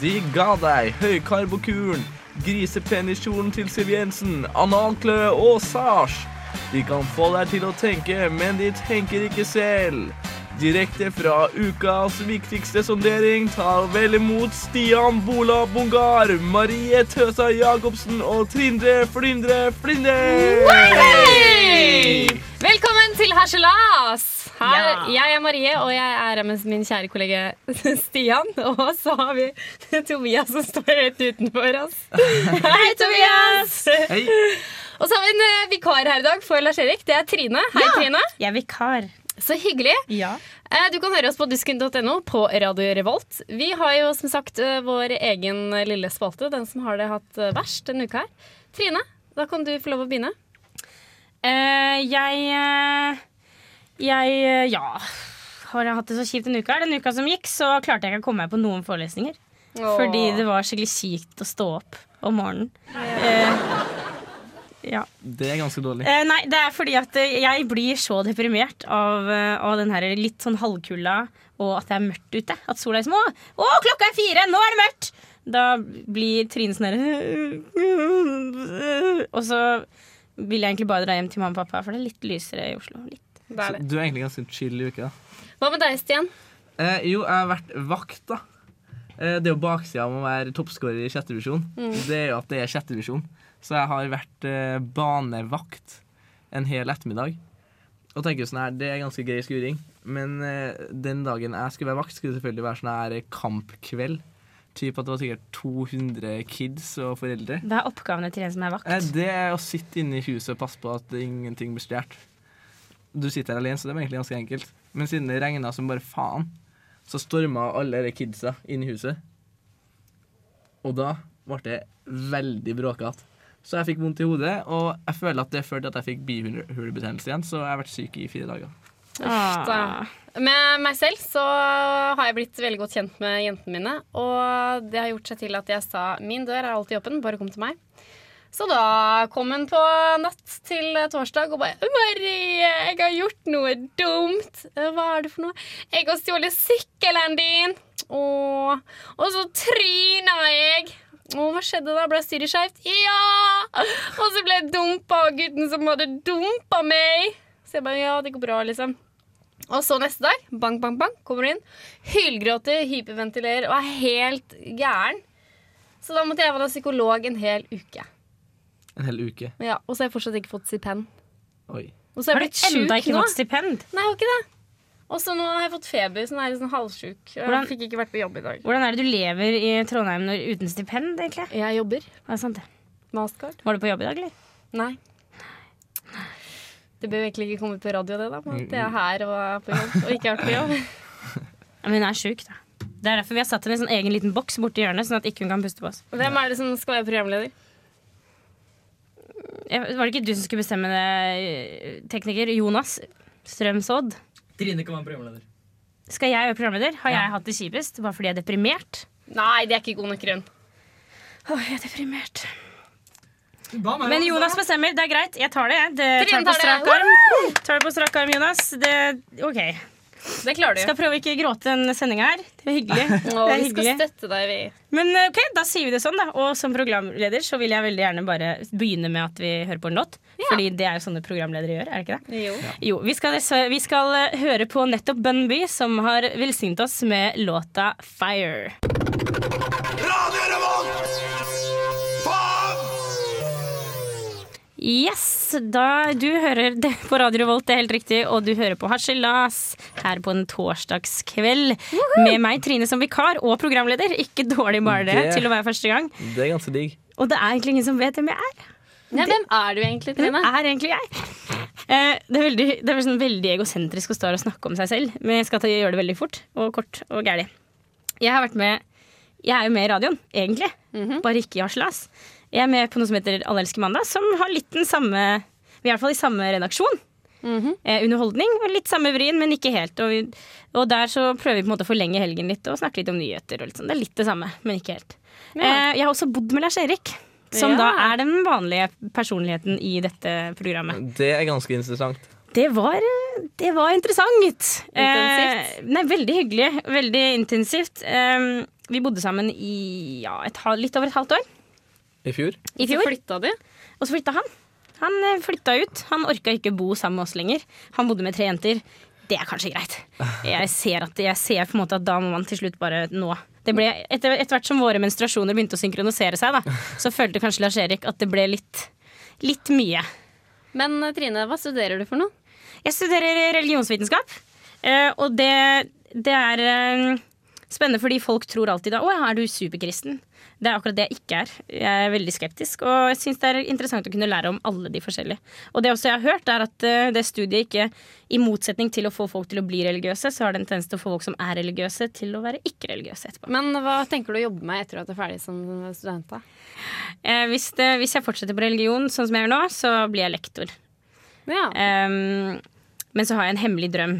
De ga deg høykarbokuren, grisepeniskjolen til Siv Jensen, analkløe og sars. De kan få deg til å tenke, men de tenker ikke selv. Direkte fra ukas viktigste sondering tar vel imot Stian Bola Bongar, Marie Tøsa Jacobsen og Trindre Flyndre Flinde. Hei! Velkommen til Herselas! Her, Jeg er Marie, og jeg er her med min kjære kollega Stian. Og så har vi Tobias som står helt utenfor oss. Hei, Tobias! Hei. Og så har vi en eh, vikar her i dag for Lars Erik. Det er Trine. Hei, Trine. Jeg er vikar. Så hyggelig. Ja. Eh, Du kan høre oss på dusken.no på Radio Revolt. Vi har jo som sagt eh, vår egen lille spalte, den som har det hatt eh, verst denne uka her. Trine, da kan du få lov å begynne. jeg eh, Jeg eh, ja. Har jeg hatt det så kjipt en uke her? Den uka som gikk, så klarte jeg ikke å komme meg på noen forelesninger. Fordi det var skikkelig kjipt å stå opp om morgenen. Eh, ja. Det er ganske dårlig. Eh, nei, det er fordi at eh, jeg blir så deprimert av, eh, av den her litt sånn halvkulda og at det er mørkt ute. At sola er som Å, å, klokka er fire! Nå er det mørkt! Da blir Trine sånn her Og så vil jeg egentlig bare dra hjem til mamma og pappa, for det er litt lysere i Oslo. Litt. Det er det. Du er egentlig ganske chill i uka. Hva med deg, Stian? Eh, jo, jeg har vært vakt, da. Eh, det er jo baksida med å være toppskårer i sjette divisjon. Det er jo at det er sjette divisjon. Så jeg har vært eh, banevakt en hel ettermiddag. Og tenker jo sånn her, det er ganske gøy skuring. Men eh, den dagen jeg skulle være vakt, skulle det selvfølgelig være sånn her kampkveld. Typ at det var sikkert 200 kids og foreldre. Hva er oppgavene til en som er Eh, vakt? Det er å sitte inne i huset og passe på at ingenting blir stjålet. Du sitter her alene, så det var egentlig ganske enkelt. Men siden det regna som bare faen, så storma alle de kidsa inn i huset. Og da ble det veldig bråkete. Så jeg fikk vondt i hodet, og jeg føler at det førte til at jeg fikk bihulebetennelse igjen, så jeg har vært syk i fire dager. Ah. Da. Med meg selv så har jeg blitt veldig godt kjent med jentene mine. Og det har gjort seg til at jeg sa min dør er alltid åpen, bare kom til meg. Så da kom hun på natt til torsdag og bare 'Marie, jeg har gjort noe dumt.' 'Hva er det for noe?' 'Jeg har stjålet sykkelen din.' Åh. Og så tryna jeg. Å, hva skjedde da? Ble styret skeivt? Ja! Og så ble jeg dumpa av gutten som hadde dumpa meg. Så jeg bare Ja, det går bra, liksom. Og så neste dag, bang, bang, bang, kommer hun inn. Hylgråter, hyperventilerer og er helt gæren. Så da måtte jeg være psykolog en hel uke. En hel uke. Ja, og så har jeg fortsatt ikke fått stipend. Oi. Og så Har har jeg du blitt sjuk enda ikke nå. fått stipend? Nei, jeg har ikke det. Og så nå har jeg fått feber, så nå er jeg sånn halvsjuk. Og Hvordan- Jeg fikk ikke vært på jobb i dag. Hvordan er det du lever i Trondheim når, uten stipend, egentlig? Jeg jobber. Ja, sant det. Mastercard. Var du på jobb i dag, eller? Nei. Det bør jo egentlig ikke komme ut på radio, det, da. Men at jeg er her og er på jobb, og ikke har vært på jobb. Ja, men hun er sjuk, da. Det er derfor vi har satt henne i en sånn egen liten boks borti hjørnet, sånn at ikke hun kan puste på oss. Hvem er det som skal være programleder? Jeg- Var det ikke du som skulle bestemme det, eh, tekniker Jonas Strømsodd? Trine kan være programleder. Skal jeg være programleder? Har jeg hatt det kjipest? Bare fordi jeg er deprimert? Nei, det er ikke god nok grunn. Åh, jeg er deprimert. Du ba meg Men om det. Jonas bestemmer. Det er greit. Jeg tar det. jeg. det tar Trine det på tar strak det. arm, tar det på strak arm Jonas. Det, ok. Det klarer du. Skal prøve ikke gråte den sendinga her. Det er hyggelig. Å, Det er vi skal hyggelig. støtte deg, vi. Men eh, ok, da sier vi det sånn, da. Og som programleder så vil jeg veldig gjerne bare begynne med at vi hører på en låt. Fordi det er jo sånne programledere gjør, er det ikke det? Jo. Jo, vi skal, vi skal eh, høre på nettopp Bunby, som har velsignet oss med låta 'Fire'. Radio Revolt! Yes, da du hører det på Radio Revolt, det er helt riktig, og du hører på Harselas her på en torsdagskveld med meg, Trine, som vikar og programleder. Ikke dårlig bare det, Det- til å være første gang. Det er ganske digg. Og det er egentlig ingen som vet hvem jeg er. Ja, hvem er du egentlig, Hvem Trine? er egentlig jeg? Eh, Det er veldig, det er vel sånn veldig egosentrisk å stå her og snakke om seg selv, men jeg skal ta, gjøre det veldig fort og kort og gæli. Jeg har vært med Jeg er jo med i radioen, egentlig, bare ikke i Harselas. Jeg er med på noe som heter Allelske mandag, som har litt den samme Vi er i hvert fall i samme redaksjon. Mm-hmm. Mhm. eh, underholdning og litt samme vrien, men ikke helt. Og, vi, og der så prøver vi på en måte å forlenge helgen litt og snakke litt om nyheter. Og litt sånn. Det er litt det samme, men ikke helt. Eh, jeg har også bodd med Lars Erik, som Ja. da er den vanlige personligheten i dette programmet. Det er ganske interessant. Det var, det var interessant. Intensivt? Eh, nei, veldig hyggelig. Veldig intensivt. Eh, Vi bodde sammen i ja, et, hal- litt over et halvt år I fjor? i fjor. Så flytta de. Og så flytta han. Han eh, flytta ut. Han orka ikke bo sammen med oss lenger. Han bodde med tre jenter. Det er kanskje greit. Jeg ser, at, jeg ser på en måte at da må man til slutt bare nå. Det ble, etter, etter hvert som våre menstruasjoner begynte å synkronisere seg, da, så følte kanskje Lars Erik at det ble litt, litt mye. Men eh, Trine, hva studerer du for noe? Jeg studerer religionsvitenskap, eh, og det, det er eh, spennende fordi folk tror alltid da, «Å, er du superkristen? Det er akkurat det jeg ikke er. Jeg er veldig skeptisk, og jeg synes det er interessant å kunne lære om alle de forskjellige. Og det også jeg har hørt er at eh, det studiet ikke, i motsetning til å få folk til å bli religiøse, så har det en tendens til å få folk som er religiøse til å være ikke-religiøse etterpå. Men hva tenker du å jobbe med etter at du er ferdig som student? da? Eh, hvis, det, hvis jeg fortsetter på religion sånn som jeg gjør nå, så blir jeg lektor. Ja, Eh, men så har jeg en hemmelig drøm.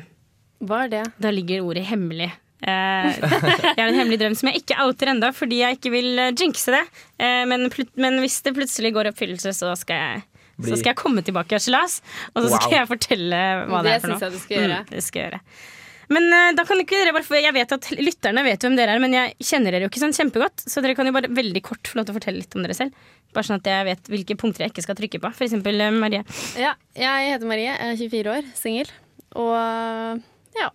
Hva er det? Da ligger ordet hemmelig. Eh, jeg har en hemmelig drøm som jeg ikke outer enda fordi jeg ikke vil eh, jinxe det. Eh, men, plut men hvis det plutselig går i oppfyllelse, så skal jeg, Bli- så skal jeg komme tilbake i harselas. Og så skal Wow. jeg fortelle hva det, Det er for noe. synes jeg du skal gjøre. Mm, det skal jeg gjøre. Men eh, da kan ikke dere bare få Jeg vet at lytterne vet hvem dere er, men jeg kjenner dere jo ikke sånn kjempegodt. Så dere kan jo bare veldig kort få lov til å fortelle litt om dere selv. Bare sånn at jeg vet hvilke punkter jeg ikke skal trykke på. For eksempel eh, Marie. Ja, jeg heter Marie, jeg er 24 år, singel. Og eh, ja,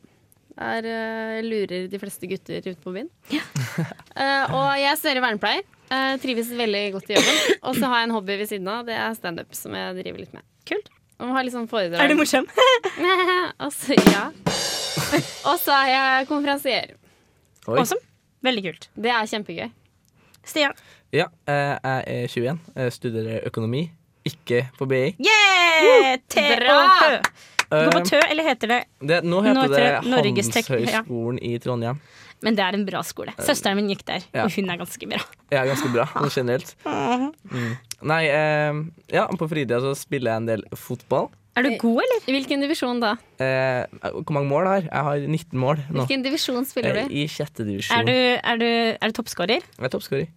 er, eh, lurer de fleste gutter ute på byen. Eh, og jeg studerer vernepleier. eh, trives veldig godt i jobben. Og så har jeg en hobby ved siden av, det er standup, som jeg driver litt med. Kult. Og har litt sånn foredrag. Er du morsom? og så, ja. Og så er jeg konferansier. Oi. Awesome. Veldig kult. Det er kjempegøy. Stian. Ja, eh, jeg er 21. Jeg studerer økonomi. Ikke på BI. Yeah! T-O-H. Bra! Det går Eh, på tø, eller heter det det, nå heter Nå heter det det Norges Tek- ja. Handelshøyskolen i Trondheim. Men det er en bra skole. Søsteren min gikk der, um, ja. og hun er ganske bra. Jeg er ganske bra sånn generelt. Mhm. Mm. Nei, eh, ja, på fritida så spiller jeg en del fotball. Er du god, eller? I hvilken divisjon da? Eh, hvor mange mål har jeg? Jeg har 19 mål nå. Hvilken divisjon spiller Eh, du? i? I sjette divisjon. Er du, er du, er du toppskårer? Jeg er toppskårer.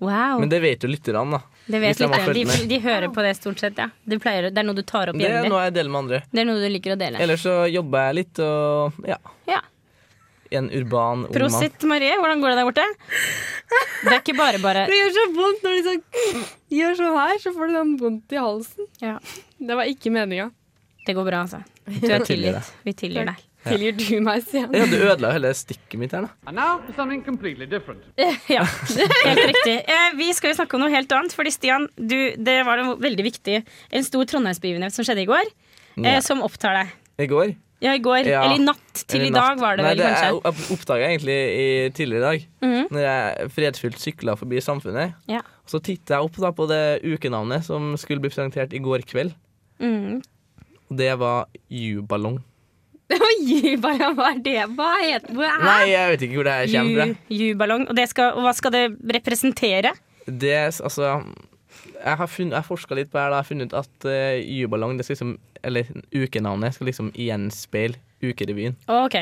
Wow. Men det vet jo lytterne, da. Det vet Hvis jeg må lytterne. følge De, de hører på det stort sett, ja. Det, pleier, det er noe du tar opp Det er jevnlig. noe jeg deler med andre. Det er noe du liker å dele. Ellers så jobber jeg litt og ja. Ja. En urban ung mann. Prosit, Marie. Hvordan går det der borte? Det er ikke bare bare Det gjør så vondt når de sånn, gjør sånn her, så får du sånn vondt i halsen. ja. Det var ikke meninga. Det går bra, altså. Du er Jeg tilgir tilgitt. Vi tilgir deg. Tilgir du meg, Stian? Ja, du ødela hele stikket mitt her, da. And now for something completely different. Ja, helt riktig. Eh, vi skal jo snakke om noe helt annet. Fordi Stian, du, det var en veldig viktig En stor trondheimsbegivenhet som skjedde i går, eh, Ja. som opptar deg. I går. Ja, i går. Ja. Eller i natt til eller i dag natt. var det Nei, vel, kanskje. Mm, Det jeg oppdaga egentlig i tidligere i dag, Når jeg fredfullt sykla forbi Samfunnet. Ja. Så titta jeg opp da på det ukenavnet som skulle bli presentert i går kveld. Mm. Og det var Juballong. Oi, bare hva er det? Hva heter hvor er- Nei, jeg vet ikke hvor det her kommer fra. Ah! Ju- Juballong. Og, det skal, og hva skal det representere? Det, er s- altså, jeg har, funnet- jeg forska litt på det her, da. Jeg har funnet ut at uh, Juballong, det skal liksom, eller ukenavnet, skal liksom gjenspeile ukerevyen. Ok,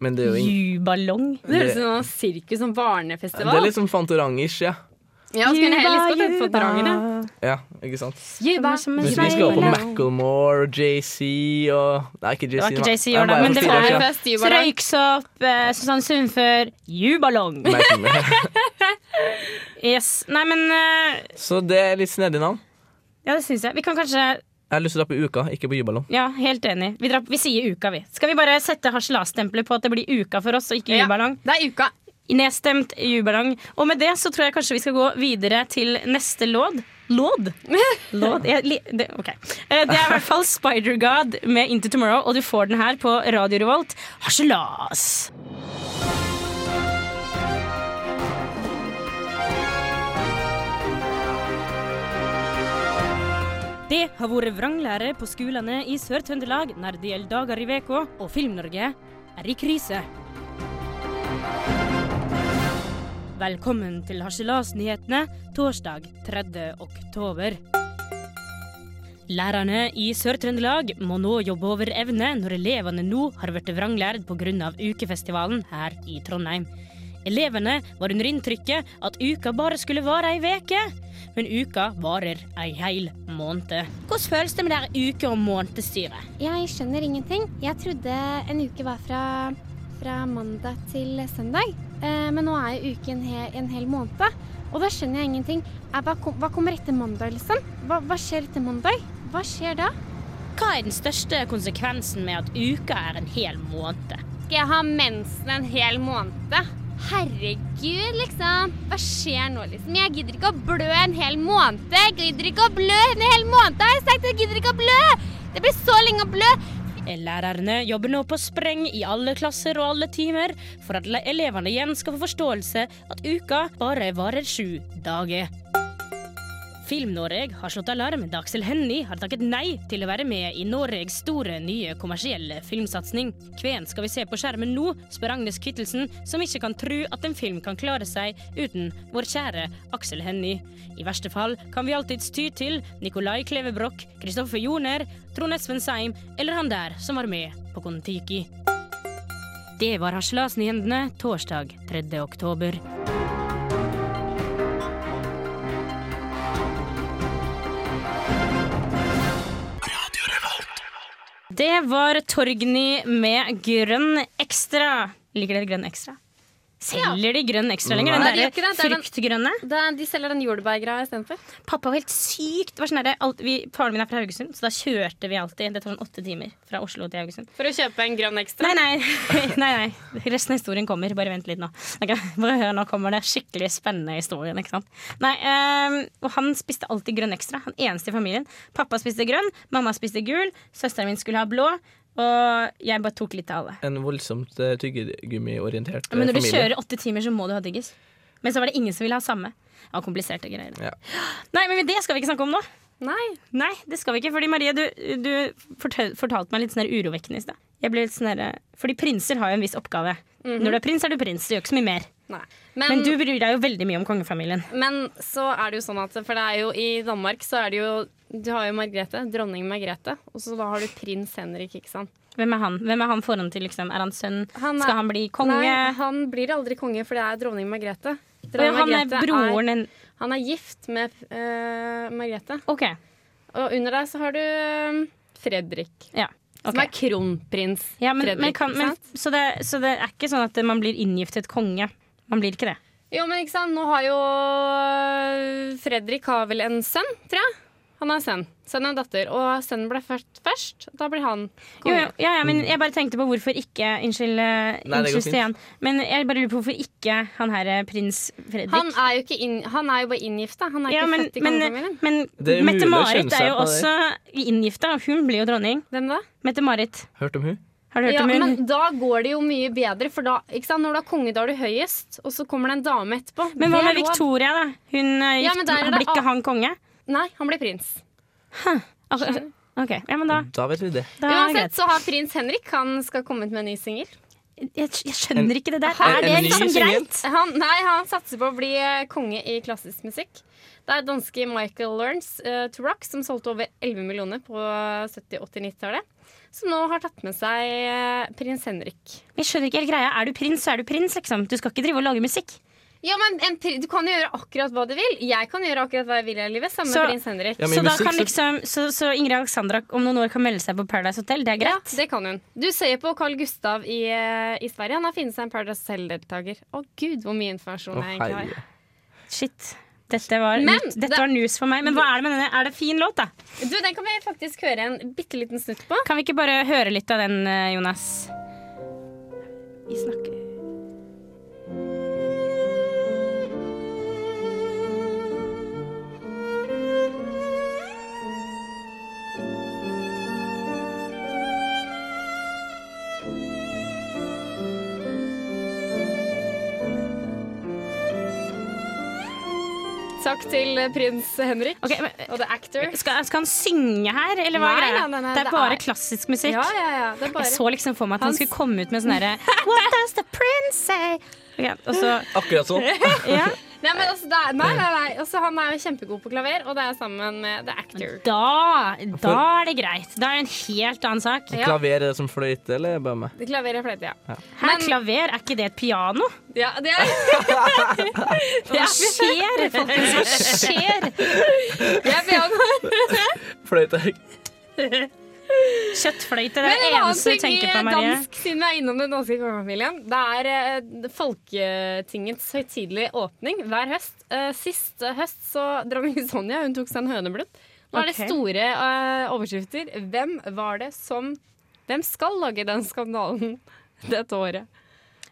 Men det er jo ingen Juballong. Det høres ut som noe sirkus som barnefestival. Det er litt sånn Fantorangish, ja. Ja, så kunne jeg heller lyst til å hete Fantorangene. ja. Ikke sant? Juba. Som en Vi vi skal over på sveile. Macclemore og JC og Nei, ikke JC. Det var ikke nå. JC i Jeg år, da, bare men det forstyrrer var- ikke, ja. Barnefest, Så jubalong. Røyksopp, eh, Susanne Sundfør, Juballong. Merkelig. Yes. Nei, men eh, Så det er litt snedig navn. Ja, det syns jeg. Vi kan kanskje Jeg har lyst til å dra på Uka, ikke på Juballong. Ja, helt enig. Vi, drar, vi sier uka, vi. Skal vi bare sette harselastempelet på at det blir uka for oss, og ikke Ja. Juballong? Det er uka. Nedstemt jubellang. Og med det så tror jeg kanskje vi skal gå videre til neste låd. Låd? Låd? Jeg, li, det, ok. Eh, det er i hvert fall Spider God med Into Tomorrow, og du får den her på Radio Revolt. Harselas! Det har vært vranglære på skolene i Sør-Trøndelag når det gjelder dager i veka, og Film-Norge er i krise. Velkommen til Harselasnyhetene torsdag 30. oktober. Lærerne i Sør-Trøndelag må nå jobbe over evne når elevene nå har blitt vranglært pga. ukefestivalen her i Trondheim. Elevene var under inntrykket at uka bare skulle vare ei veke, men uka varer ei heil måned. Hvordan føles det med det her uke- og månedsstyret? Jeg skjønner ingenting. Jeg trodde en uke var fra, fra mandag til søndag. Eh, men nå er jo uken he en hel måned, og da skjønner jeg ingenting. Eh, hva, kom, hva kommer etter mandag, liksom? Hva, hva skjer etter mandag? Hva skjer da? Hva er den største konsekvensen med at uka er en hel måned? Skal jeg ha mensen en hel måned? Herregud, liksom. Hva skjer nå, liksom? Jeg gidder ikke å blø en hel måned. Jeg gidder ikke å blø en hel måned, har jeg sagt. Jeg gidder ikke å blø. Det blir så lenge å blø. Lærerne jobber nå på spreng i alle klasser og alle timer for at le- elevene igjen skal få forståelse at uka bare varer sju dager. Film-Norge har slått alarm da Aksel Hennie har takket nei til å være med i Norges store nye kommersielle filmsatsing. Hvem skal vi se på skjermen nå, spør Agnes Kittelsen, som ikke kan tro at en film kan klare seg uten vår kjære Aksel Hennie. I verste fall kan vi alltids ty til Nicolai Kleve Broch, Kristoffer Joner, Trond Espen Seim eller han der som var med på Kon-Tiki. Det var Harselasnyhendene torsdag 3. oktober. Det var Torgny med Grønn Ekstra. Liker dere Grønn Ekstra? Selger de Grønn Ekstra lenger? Nei, de Den gjør ikke Mm. der det. Det er den- fruktgrønne? de selger den jordbærgreia istedenfor. Pappa var helt sykt det var sånn der, alt, vi, Faren min er fra Haugesund, så da kjørte vi alltid Det tar sånn åtte timer fra Oslo til Haugesund. For å kjøpe en grønn ekstra. Nei, nei, nei, nei. resten av historien kommer. Bare vent litt nå. Ok, Bare hør, nå kommer det skikkelig spennende historien. Ikke sant? Nei, ehm, og han spiste alltid grønn ekstra. Han eneste i familien. Pappa spiste grønn, mamma spiste gul, søsteren min skulle ha blå, og jeg bare tok litt av alle. En voldsomt eh, tyggegummiorientert eh, Men når du familie. kjører åtte timer, så må du ha diggis. Men så var det ingen som ville ha samme. Det var kompliserte greier. Ja. Nei, men det skal vi ikke snakke om nå. Nei. Nei, det skal vi ikke. Fordi Marie, du, du fortel, fortalte meg litt sånn her urovekkende i stad. Jeg ble litt sånn her, Fordi prinser har jo en viss oppgave. Mhm. Når du er prins, er du prins. Du gjør ikke så mye mer. Men, Men du bryr deg jo veldig mye om kongefamilien. men så er det jo sånn at For det er jo i Danmark så er det jo Du har jo Margrethe, dronning Margrethe, og så da har du prins Henrik, ikke sant. Hvem er han Hvem er han foran til? liksom? Er han sønn? Han er- skal han bli konge? Nei, han blir aldri konge, for det er dronning Margrethe. Og ja, Dronning han er Margrethe broren en Er, han er gift med eh, Margrethe. OK. Og under deg så har du eh, Fredrik, Ja. ok. som er kronprins ja men, Fredrik. men kan, ikke men, sant? så, det, så det er ikke sånn at man blir inngiftet konge. Man blir ikke det. Jo, men ikke sant, nå har jo øh, Fredrik har vel en sønn, tror jeg. Han har en sønn. Sønn og en datter. Og sønnen ble født først. Da blir han Jo, konge. jo, ja, ja, men jeg bare tenkte på hvorfor ikke Unnskyld, Mm. Nei, eh, det går unnskyld fint. Stian. Men jeg bare lurer på hvorfor ikke han her eh, prins Fredrik Han er jo, ikke inn, han er jo bare inngifta. Han er ja, ikke men, født i men, kongefamilien. men øh, Det er umulig å Mette-Marit skjønne er seg jo på det. også inngifta, og hun blir jo dronning. Hvem da? Mette-Marit, Hørt om hun? har du hørt Ja, om men hun? da går det jo mye bedre, for da, ikke sant? når du er konge, da er du høyest, og så kommer det en dame etterpå. Men Det hva er med lov. Victoria, da? Hun Ja, eh, gift, men der er han det blir ikke a- han konge? Nei, han blir prins. Altså, OK, ja, men da, Da vet vi det. da er det Uansett greit. så har prins Henrik Han skal komme ut med en ny singel. Jeg, jeg skjønner ikke det der. En- Er det en ny sånn liksom singel? greit? Han, nei, han satser på å bli eh, konge i klassisk musikk. Det er danske Michael Learns eh, to Rock som solgte over 11 millioner på 70-, 80-, 90-tallet. Som nå har tatt med seg eh, prins Henrik. Jeg skjønner ikke helt greia. Er du prins, så er du prins, liksom. Du skal ikke drive og lage musikk. Ja, men en, pri- Du kan jo gjøre akkurat hva du vil. Jeg kan gjøre akkurat hva jeg vil i livet. Samme Så- prins Henrik. Ja, men Så, i da musikk kan så- liksom, så, så Ingrid Alexandra om noen år kan melde seg på Paradise Hotel. Det er Ja, greit. det kan hun. Du ser på Carl Gustav i, eh, i Sverige. Han har funnet seg en Paradise Hotel-deltaker. Å gud, hvor mye informasjon Å, jeg egentlig har. herre. Shit. Dette var, Men nytt- det- dette var news for meg. Men hva er det med denne? Er det fin låt, da? Du, Den kan vi faktisk høre en bitte liten snutt på. Kan vi ikke bare høre litt av den, eh, Jonas? Vi snakker Takk til eh, prins Henrik Ok, men, eh, og The Actor. skal, skal han synge her, eller hva er Nei, greia? nei, nei, nei, det er det bare er- klassisk musikk. Ja, ja, ja. Det er bare Jeg så liksom for meg at han Hans- skulle komme ut med sånn herre What does the prince say? Ok, og så, Akkurat sånn. ja. Nei, men altså, det er, nei, nei, nei. Altså, han er jo kjempegod på klaver, og det er sammen med The Actor. da, da er det greit. Da er det en helt annen sak. Ja. Klaver er det som fløyte, eller er det bare meg? Det Klaveret fløyte, ja. Her, klaver, er ikke det et piano? ja det er, Hva skjer, folkens? Hva skjer? jeg er piano. Fløyte er Kjøttfløyte, det Men er det en annen eneste ting du tenker på, i Marie. dansk, siden vi er innom den danske kongefamilien, det er eh, Folketingets høytidelige åpning hver høst. Eh, sist eh, høst så dronning Sonja hun tok seg en høneblutt. Nå er det Ok. store eh, overskrifter. Hvem var det som Hvem skal lage den skandalen dette året?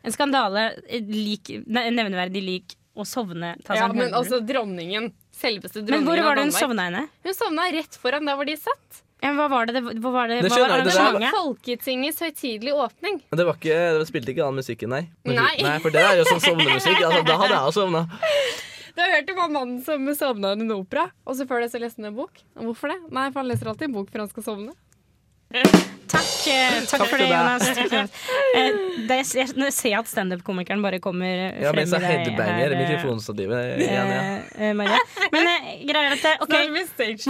En skandale eh, lik, ne, nevneverdig lik å sovne. Ta seg Ja, en men høneblund. altså dronningen. Selveste men dronningen hvor av var det hun Danmark. sovna henne? Hun sovna rett foran der hvor de satt. Ja, Hva var det, det, hva var det, Det hva var skjønner jeg, det der- arrangementet? Folketingets høytidelige åpning. Men det var ikke, det spilte ikke den musikken, nei. Men- Nei. nei for det er jo sånn sovnemusikk. Altså, da hadde jeg jo sovna. Du har hørt om han mannen som sovna under en opera, og så før det så leste han en bok. Og Hvorfor det? Nei, for han leser alltid en bok før han skal sovne. Takk, eh, takk for til det, deg. Jonas. Eh, det, jeg, jeg ser at standup-komikeren bare kommer eh, Ja, frem mens jeg i deg headbanger her, eh, mikrofonstativet eh, igjen. Ja. eh, Maria. Men eh, greier at det, ok,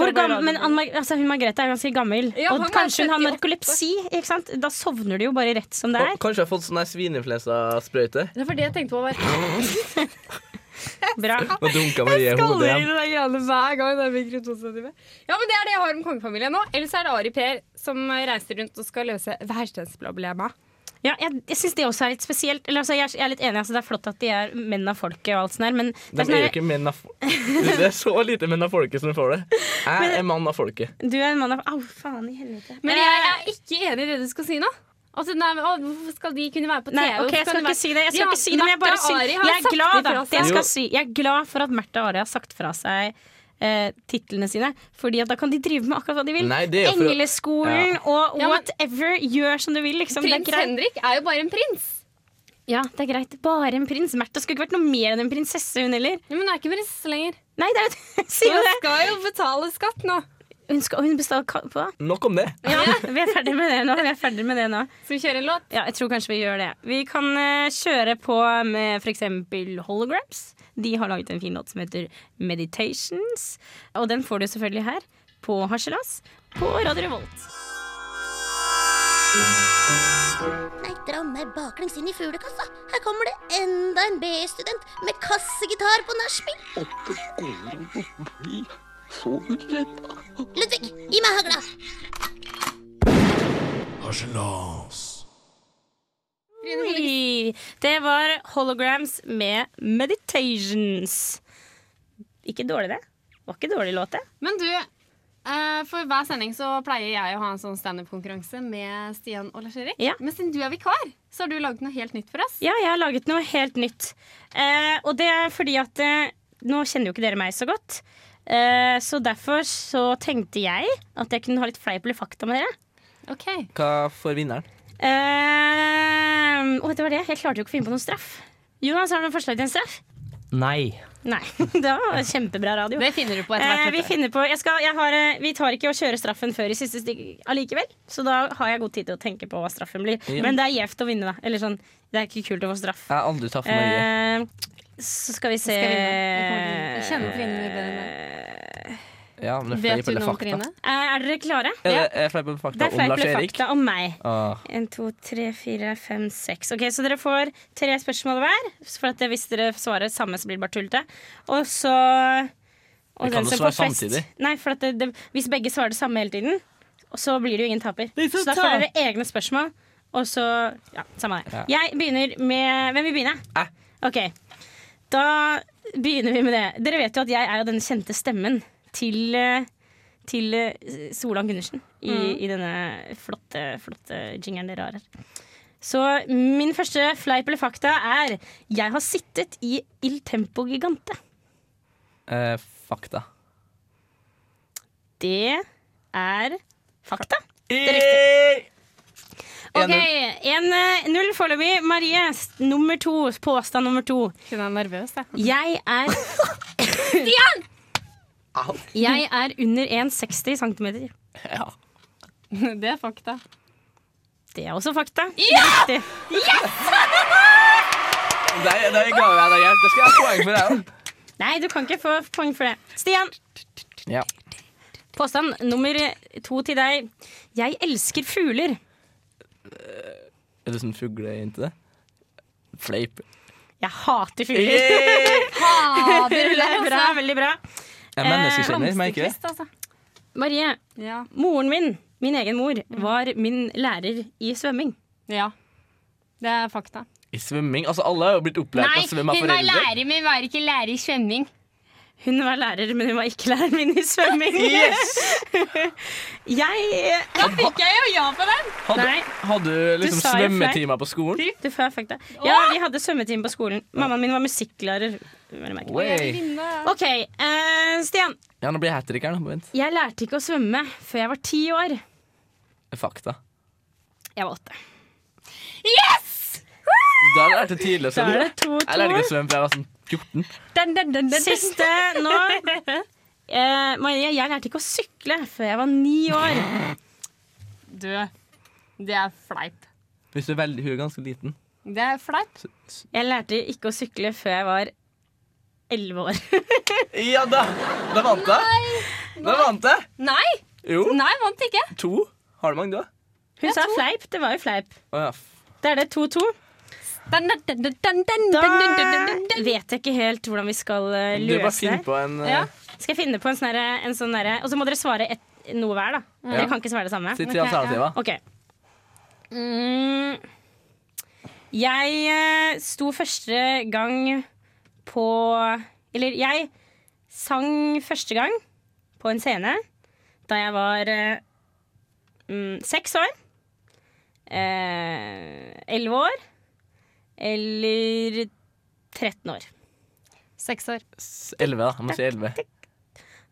Hvor gammel, men Anne, Mar- altså, hun Margrethe er ganske gammel, Ja, og han er kanskje hun har 78. narkolepsi. Ikke sant? Da sovner du jo bare rett som det Og er. Kanskje jeg har fått sånn her svineinfluensasprøyte. Det var det jeg tenkte på. Var. Bra. Nå dunka Marie i hodet igjen. den greiene hver gang det er mikrofonstativet. Ja, men det er det jeg har om kongefamilien nå. Ellers er det Ari Per som reiser rundt og skal løse værsteinsproblemet. Ja, jeg jeg syns det også er litt spesielt. Eller, altså, jeg, er, jeg er litt enig, altså, Det er flott at de er menn av folket, og alt sånt der, men det De er er jo sånn, ikke menn av fo- Det er så lite menn av folket som får det. Jeg er mann av folket. her, du er en mann av Au, faen i helvete. Eh, Men jeg er ikke enig i det du skal si nå. Altså, nei, men, å, hvorfor skal de kunne være på TV? Nei, ok, jeg skal ikke si det. Jeg skal ikke si det, men jeg, bare syns- jeg er glad da, det jeg, Jo. skal si, jeg er glad for at Märtha Ari har sagt fra seg eh, titlene sine, Fordi at da kan de drive med akkurat hva de vil. Nei, det er jo for å- Engleskolen Ja, og men- whatever. Gjør som du vil, liksom. Det er Prins greit. Henrik er jo bare en prins. Ja, det er greit. Bare en prins. Märtha skulle ikke vært noe mer enn en prinsesse, hun heller. Ja, men hun er ikke prinsesse lenger. Nei, det er jo Si jo Hun det! skal jo betale skatt nå. Hun, skal, hun består ka- på Nok om det. Ja, vi er ferdig med det nå. Vi er ferdig med det nå. Skal vi kjøre en låt? Ja, jeg tror kanskje vi gjør det. Vi kan eh, kjøre på med f.eks. Holograms. De har laget en fin låt som heter Meditations. Og den får du selvfølgelig her på Harselas på Radio Revolt. Nei, dra meg baklengs inn i fuglekassa. Her kommer det enda en B-student med kassegitar på nachspiel. Ludvig, gi meg hagla. Harselas. Oi. Det var Holograms med Meditations. Ikke dårlig, det. Var ikke dårlig låt, det. Men du, eh, for hver sending så pleier jeg å ha en sånn standup-konkurranse med Stian og Lars-Erik. Ja. Men siden du er vikar, så har du laget noe helt nytt for oss. Ja, jeg har laget noe helt nytt. Eh, og det er fordi at eh, Nå kjenner jo ikke dere meg så godt. Eh, så derfor så tenkte jeg at jeg kunne ha litt fleip eller fakta med dere. Ok. Hva får vinneren? Eh, og det var det. Jeg klarte jo ikke å finne på noen straff. Jonas, har du noen forslag til en straff? Nei. Nei. det var kjempebra radio. Det finner du på etter hvert. Eh, vi, vet du. finner på, jeg skal, jeg har, eh, vi tar ikke å kjøre straffen før i siste stikk allikevel, så da har jeg god tid til å tenke på hva straffen blir. Ja. Men det er gjevt å vinne, da. Eller sånn, det er ikke kult å få straff. Jeg har aldri tatt for Marie. Eh, så skal vi se Skal jeg vinne? Jeg kommer til å vinne. Jeg kjenner på vinneren bedre enn Ja, men det er Vet fleip du noe eller om fakta. Trine? Eh, Er dere klare? Er det- er det fleip eller Det fakta er om fleip Lars eller Erik? fakta om meg. Åh, En, to, tre, fire, fem, seks. Ok, Så dere får tre spørsmål hver. For at Hvis dere svarer samme, så blir det bare tullete. Og så Vi kan jo svare samtidig. Nei, for at det, det, Hvis begge svarer det samme hele tiden, så blir det jo ingen taper. Så da får dere egne spørsmål, og så Ja, samme det. Jeg begynner med Hvem vil begynne? Jeg. Ok, Da begynner vi med det. Dere vet jo at jeg er jo den kjente stemmen til eh, til eh, Solan Gundersen i, i denne flotte, flotte jingeren dere har her. Så min første fleip eller fakta er Jeg har sittet i Il Tempo Gigante. eh, fakta. Det er fakta. En OK, null. 1-0 foreløpig. Marie, s- nummer to. Påstand nummer to. Hun er nervøs, jeg. Jeg er Stian! Jeg er under 1,60 cm. Ja. Det er fakta. Det er også fakta. Riktig. Nei, det ga jeg deg hjelp. Det skal jeg ha poeng for, jeg òg. Nei, du kan ikke få poeng for det. Stian! Ja. Påstand nummer to til deg. Jeg elsker fugler. Er du sånn fuglejente? det? Fleip. Jeg hater fugler. Jeg Det er bra, veldig bra. Eh, er menneskekjenner, merker jeg. Blomsterkvist, altså. Marie, Ja. moren min Min egen mor var min lærer i svømming. Ja. Det er fakta. I svømming? Altså, alle er jo blitt opplært til å svømme av foreldre. men var ikke lærer i svømming. Hun var lærer, men hun var ikke læreren min i svømming. jeg Da fikk jeg jo ja på den! Hadde, Nei. hadde du liksom sa jo svømmetimer på skolen? Du får fakta. Ja, vi hadde svømmetime på skolen. Mammaen min var musikklærer. vel å merke. Oi. OK, eh, Stian. Ja, nå blir jeg hat trick her. nå. Vent. Jeg lærte ikke å svømme før jeg var ti år. Fakta. Jeg var åtte. Da lærte jeg tidlig å Da er svømme. det to, Jeg lærte to. ikke å svømme fra jeg var sånn 14. Siste nå. Eh, Maria, jeg lærte ikke å sykle før jeg var ni år. Du, det er fleip. Hvis du er veldig, hun er ganske liten. Det er fleip. Jeg lærte ikke å sykle før jeg var elleve år. Ja da! Da vant jeg. Da vant jeg. Nei! Jo, Nei, vant ikke. to. Har du mange, du? Hun sa fleip. Det var jo fleip. Å ja. f- Da er det 2-2. Dun, dun, dun, dun, dun, Da dun, dun, dun, dun, dun. vet jeg ikke helt hvordan vi skal eh, Du bare løse finner det. på en eh, Ja. Skal jeg finne på en sånn derre- en sånn derre Og så må dere svare et, noe hver, da. Mm. Ja. Dere kan ikke svare det samme. Si Ok, tre ja. alternativer. OK. Mm, jeg eh, sto første gang på Eller jeg sang første gang på en scene da jeg var eh, mm, seks år. Eh, Elleve år. Eller 13 år. Seks år. S- 11, da. Jeg må si 11.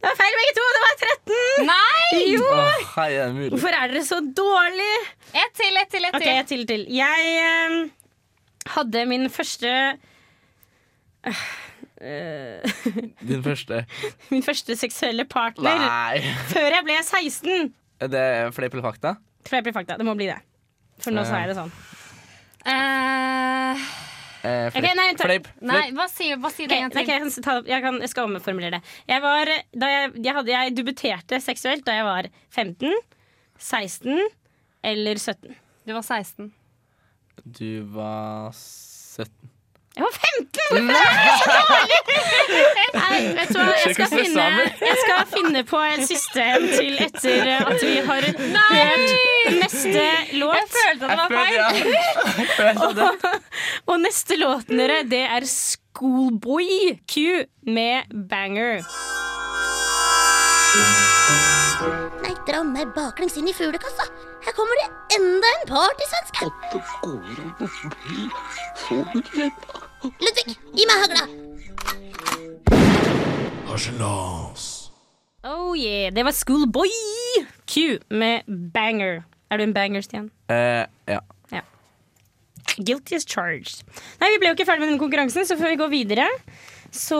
Det var feil begge to! Det var 13! Nei! Jo! Åh, hei, er det mulig? Hvorfor er dere så dårlige? Ett til, ett til, ett Ok, til. jeg til, til. Jeg eh, hadde min første eh, Din første. Min første seksuelle partner Nei. før jeg ble 16. Er det fleip eller fakta? Tror jeg blir fakta. Det må bli det. For nå sa jeg det sånn. Eh, Eh, fleip. Ok, nei, ta- fleip. nei, fleip. hva sier, hva sier Ok, det en nei, ok, til? jeg, kan, s- ta, jeg, kan, jeg skal omformulere det. Jeg, var, da jeg, jeg, hadde, jeg debuterte seksuelt da jeg var 15, 16 eller 17. Du var 16. Du var 17. Jeg var 15! Hvorfor er det så dårlig? Nei, vet du hva, jeg skal, Sjekk oss finne, sammen. jeg skal finne på et system til etter at vi har hørt neste Jeg låt. følte at det var feil. ja. Jeg følte det. Og neste låten dere, det er Schoolboy Q med Banger. Nei, dra meg baklengs inn i fuglekassa. Her kommer det enda en partysvenske. Ludvig, gi meg hagla. Harselas. Oh yeah, det var Schoolboy Q med Banger. Er du en banger, Stian? Eh, ja. Guilty as charged. Nei, vi ble jo ikke ferdig med den konkurransen, så før vi går videre, så,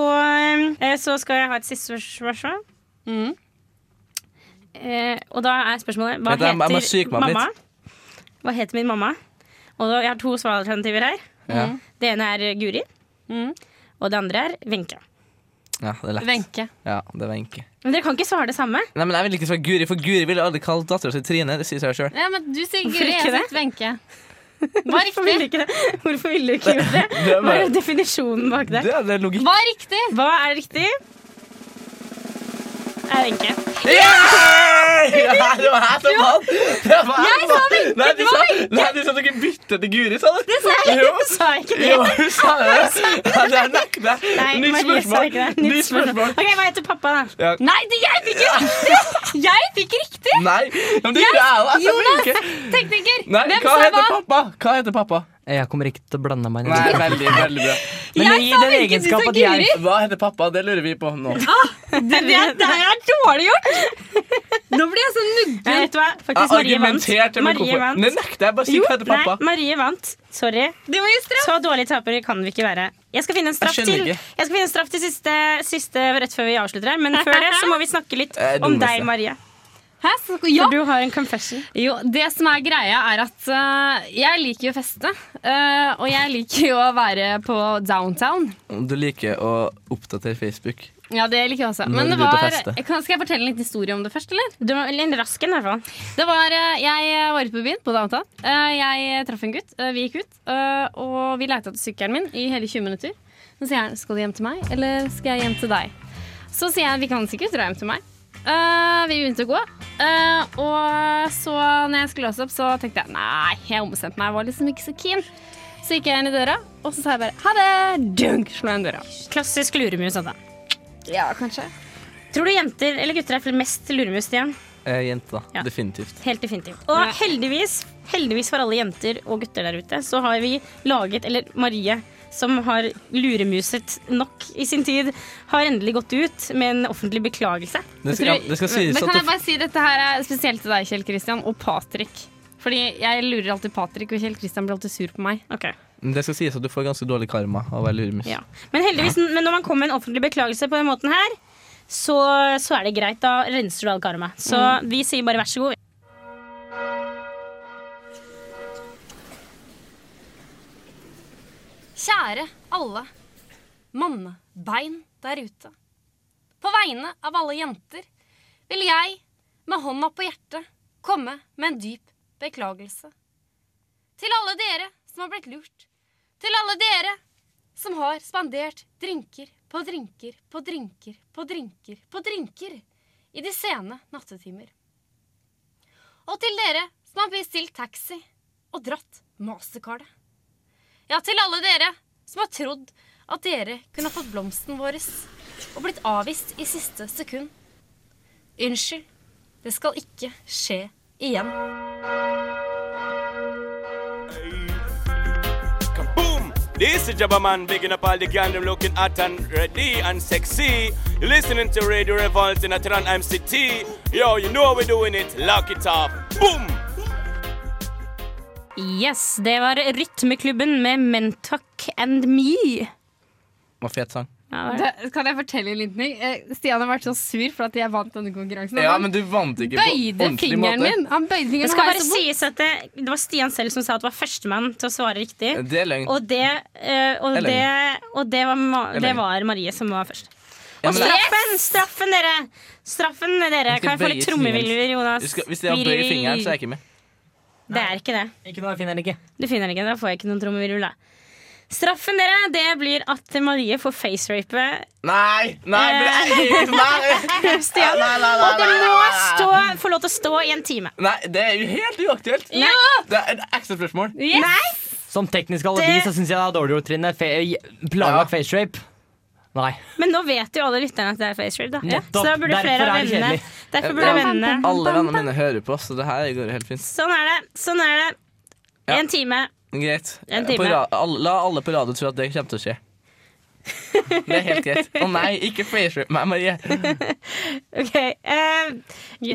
eh, så skal jeg ha et siste spørsmål. Mm. Mhm. Eh, og da er spørsmålet Hva Vent, jeg må- jeg må heter psyke meg opp mamma? Hva heter min mamma? Og da, jeg har to svaralternativer her. Ja. Det ene er Guri. Mm. Og det andre er Wenche. ja, det er lett. Wenche. Ja, det var enke. Men dere kan ikke svare det samme. Nei, men jeg vil ikke svare Guri, for Guri ville aldri kalt dattera si Trine. Det sier seg sjøl. Ja, men du sier Hvorfor Guri, ikke jeg det? sier Wenche. Hva er Hvorfor ville riktig? ikke det? Hvorfor ville du ikke gjort det? Det er Hva bare- er definisjonen bak det? Det er det er logikk. Hva er riktig? Hva er riktig? Er Wenche. Ja, det var jeg som vant! Det var jeg som vant! Nei, du det var sa, nei, du sa dere bytta til Guri, sa du? Det sa jeg ikke. Sa jeg ikke det? Jo, hun sa det. Ja, det er nekta. Nei, Nytt Marie sa spørsmål. ikke det. Nytt Nytt spørsmål. Ok, Hva heter pappa, da? Nei, det, jeg fikk riktig! Jeg fikk riktig! Nei, men det gjorde jeg da. Selvfølgelig ikke. Tekniker, Nei, hvem hva sa heter hva? pappa? Hva heter pappa? Eh, Jeg kommer ikke til å blande meg Nei, inn i det. er veldig, veldig bra. Men Jeg gi sa Wenche, den du egenskap sa at jeg- Guri. Hva heter pappa? Det lurer vi på nå. Det, det, det her er dårlig gjort! Nå blir jeg sånn så nuggen. Nei, vet du hva? Jeg Faktisk, Marie vant. argumenterte med Marie hvorfor. Nei, vant. nekter jeg. Bare si Jo, hva heter nei, pappa. Marie vant. Sorry. Det var jo straff. Så dårlige tapere kan vi ikke være. Jeg skal finne en straff Jeg skjønner til Jeg ikke. skal finne en straff til siste, siste rett før vi avslutter her. Men før det så må vi snakke litt Det er om dummeste. deg, Marie. Hæ? Så, ja. For du har en confession. Jo, det som er greia er at eh, jeg liker jo å feste. eh, og jeg liker jo å være på downtown. Du liker å oppdatere Facebook. Ja, det liker jeg også. Når du Men det er ute og var, fester. kan, skal jeg fortelle en liten historie om det først, eller? Du var en rask en, i hvert fall. Det var, eh, Jeg var ute på byen, på downtown. Eh, Jeg traff en gutt. eh, Vi gikk ut. eh, Og vi leita etter sykkelen min i hele 20 minutter. Så sier han skal du hjem til meg, eller skal jeg hjem til deg? Så sier jeg vi kan sikkert dra hjem til meg. Eh, Vi begynte å gå, Eh, og så når jeg skulle låse opp, så tenkte jeg nei, jeg ombestemte meg. Jeg var liksom ikke så keen. Så gikk jeg inn i døra, og så sa jeg bare ha det. Dunk, slo jeg inn døra. Klassisk luremus. Anna. Ja, kanskje. Tror du jenter eller gutter er mest luremus? Stian? Eh, jente, da. Ja. Definitivt. Helt definitivt. Og heldigvis, heldigvis for alle jenter og gutter der ute, så har vi laget, eller Marie som har luremuset nok i sin tid, har endelig gått ut med en offentlig beklagelse. Det skal, ja, det skal sies Men at kan jeg det, bare si dette her er spesielt til deg, Kjell Kristian, og Patrick. Fordi jeg lurer alltid Patrick, og Kjell Kristian blir alltid sur på meg. Ok. det skal sies at du får ganske dårlig karma av å være luremus. Ja. Men heldigvis, men når man kommer med en offentlig beklagelse på den måten her, så, så er det greit. Da renser du all karma. Så Mm. vi sier bare vær så god. Kjære alle mannebein der ute. På vegne av alle jenter vil jeg med hånda på hjertet komme med en dyp beklagelse. Til alle dere som har blitt lurt. Til alle dere som har spandert drinker på drinker på drinker på drinker på drinker i de sene nattetimer. Og til dere som har bestilt taxi og dratt mastercardet. Ja, til alle dere som har trodd at dere kunne ha fått blomsten vår og blitt avvist i siste sekund. Unnskyld, det skal ikke skje igjen. Boom! This is Jabba Man, bigging up all the gang, them looking hot and ready and sexy. You're listening to Radio Revolt in Atran MCT. Yo, you know how we're doing it. Lock it up. Boom! Yes, det var Rytmeklubben med Mentuck and Me. Og fet sang. Ja, det var det. Kan jeg fortelle en liten ting? Eh, Stian har vært så sur for at jeg vant denne konkurransen. Ja, Han men du vant ikke på bøyde ordentlig fingeren måte. min! Han bøyde Det fingeren skal og bare så vondt. sies at det, det var Stian selv som sa at det var førstemann til å svare riktig. Det er løgn. Og det, eh, og Eller- det, og det, var, Ma- Eller- det var Marie som var først. Ja, Og men det- straffen! Straffen, dere! Straffen, dere. Du skal Kan jeg få bøye litt trommevilver, Du Jonas? skal, hvis jeg har bøy i fingeren, så er jeg ikke med. Det er ikke det. Ikke noe jeg finner ikke. Du finner den ikke, Da får jeg ikke noen trommevirvel, da. Straffen dere, det blir at Marie får facerape eh, Nei! Nei! men det er- Nei! Stian. Nei, nei, nei, Og det nei, må nei, stå, få lov til å stå i en time. Nei, det er jo helt uaktuelt. Ja! Det er et ekstra spørsmål. Nei! Som teknisk alibi Det- så syns jeg det er dårlig gjort, Trine. Fe eh, Ja. planlagt face faceshape. Nei. Men nå vet jo alle lytterne at det er facerape, da. Nettopp. Så da burde Derfor flere av er det vennene kjedelig. Derfor burde vennene Alle vennene mine hører på, så det her går helt fint. Sånn er det. Sånn er det. Ja. En time. Greit. En På time. ra- alle- La alle på radio tro at det kommer til å skje. Det er helt greit. Å nei, ikke facerape meg, Marie. Ok. eh,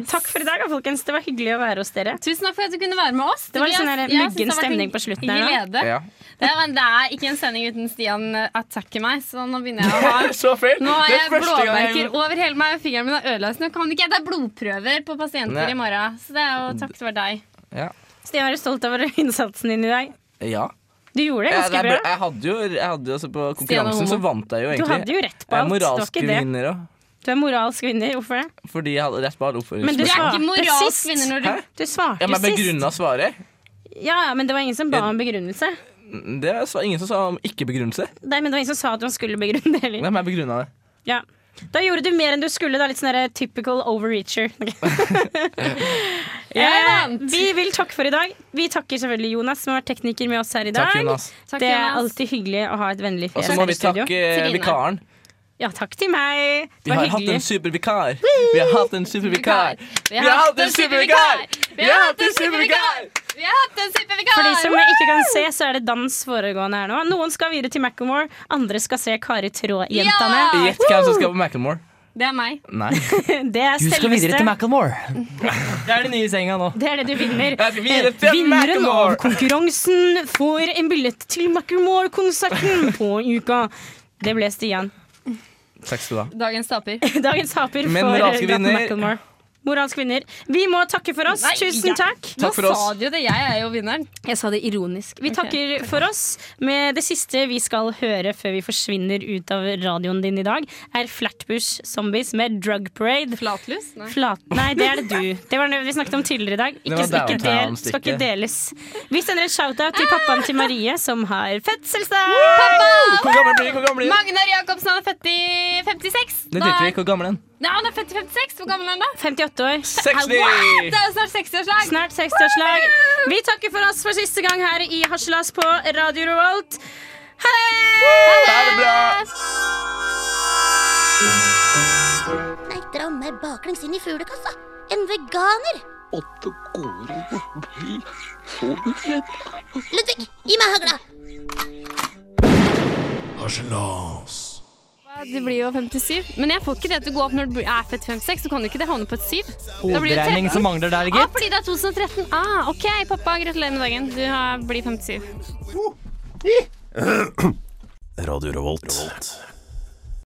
Takk for i dag, da, folkens. Det var hyggelig å være hos dere. Tusen takk for at du kunne være med oss. Det var litt blir- sånn jeg synes der det muggen har vært en stemning på slutten her, da. Glede. Ja. Det, er, men det er ikke en sending uten Stian eh, attacker meg, så nå begynner jeg å ha Så feil! Nå har Det jeg er første gang blåmerker jeg- over hele meg. Fingeren min er ødelagt. Nå kan ikke jeg. Det er blodprøver på pasienter Nei. i morgen. Så det er jo takket være deg. Ja. Stian, er du stolt over innsatsen din i dag? ja. Du gjorde det Jeg, jeg, ganske bra. jeg hadde jo, jeg hadde jo altså På Stian er konkurransen homo. så vant jeg jo Du egentlig. hadde jo rett på Jeg er alt. Det var moralsk ikke det. vinner òg. Du er moralsk vinner. Hvorfor det? Fordi jeg hadde rett på alle Men du Du er svarte ikke moralsk sist. vinner når du Hæ? Du svarte Ja, men jeg sist. begrunna svaret. Ja, ja, men det var ingen som ba om begrunnelse. Det var ingen som sa om ikke-begrunnelse. Nei, men det var ingen som sa at man skulle begrunne det heller. Hvem er begrunna det? Ja. Da gjorde du mer enn du skulle. Da. Litt sånn der typical overreacher. Ok. Jeg Eh, vant. vi vil takke for i dag. Vi takker selvfølgelig Jonas, som har vært tekniker med oss her i dag. Takk, Jonas. Takk, det er Jonas. alltid hyggelig å ha et vennlig Og fjes så må her i vi studio. takke Trine. vikaren. Ja, takk til meg. Vi Det var har hatt hyggelig. en supervikar. Vi har hatt en supervikar. Vi har hatt en supervikar! Vi har hatt en supervikar! Vi har hatt en supervikar! For de som ikke kan se, så er det dans foregående her nå. Noen skal videre til Macclemore, andre skal se Kari Traa-jentene. Ja! Gjett hvem som skal på Macclemore. Det er meg. Nei. Det er Du skal videre selveste. til Macclemore. Det er det nye i senga nå. Det er det du vinner. Jeg skal videre til Eh, Vinneren av Macklemore. konkurransen får en billett til Macclemore-konserten på uka. Det ble Stian. Takk skal du ha. Dagens taper. Dagens taper Men for moralske Gratan vinner. Macclemore. Moralsk vinner. Vi må takke for oss. Nei, Tusen ja. takk. Takk for Nå oss. sa du jo det. Jeg er jo vinneren. Jeg sa det ironisk. Vi Ok. takker for oss. Med det siste vi skal høre før vi forsvinner ut av radioen din i dag, er Flatbush Zombies med Drug Parade. Flatlus? Nei. Flat... Nei, det er det du. Det var det vi snakket om tidligere i dag. Ikke, var ikke del, downtown-stykket. skal ikke deles. Vi sender en shout-out til pappaen til Marie, som har fødselsdag! Pappa! Hvor gammel blir du? Hvor gammel blir du? Magnar Jacobsen, han er født i 56. Det Da driter vi er- i. Hvor gammel er han? Nei, han er født i 56. Hvor gammel er han da? 58 år. 60! Det er jo snart 60-årslag. Snart 60-årslag. Vi takker for oss for siste gang her i Harselas på Radio Revolt. Ha det! Ha det bra! Nei, dra meg baklengs inn i fuglekassa. En veganer. Ludvig, gi meg hagla. Harselas. Du blir jo 57. Men jeg får ikke det til å gå opp når du er født i 56. Så kan du ikke det havne på et 7. Da blir du Hoderegning 13. som mangler der, Ah, gitt. fordi det er 2013. Ah, OK, pappa. Gratulerer med dagen. Du har- blir 57. Radio Revolt.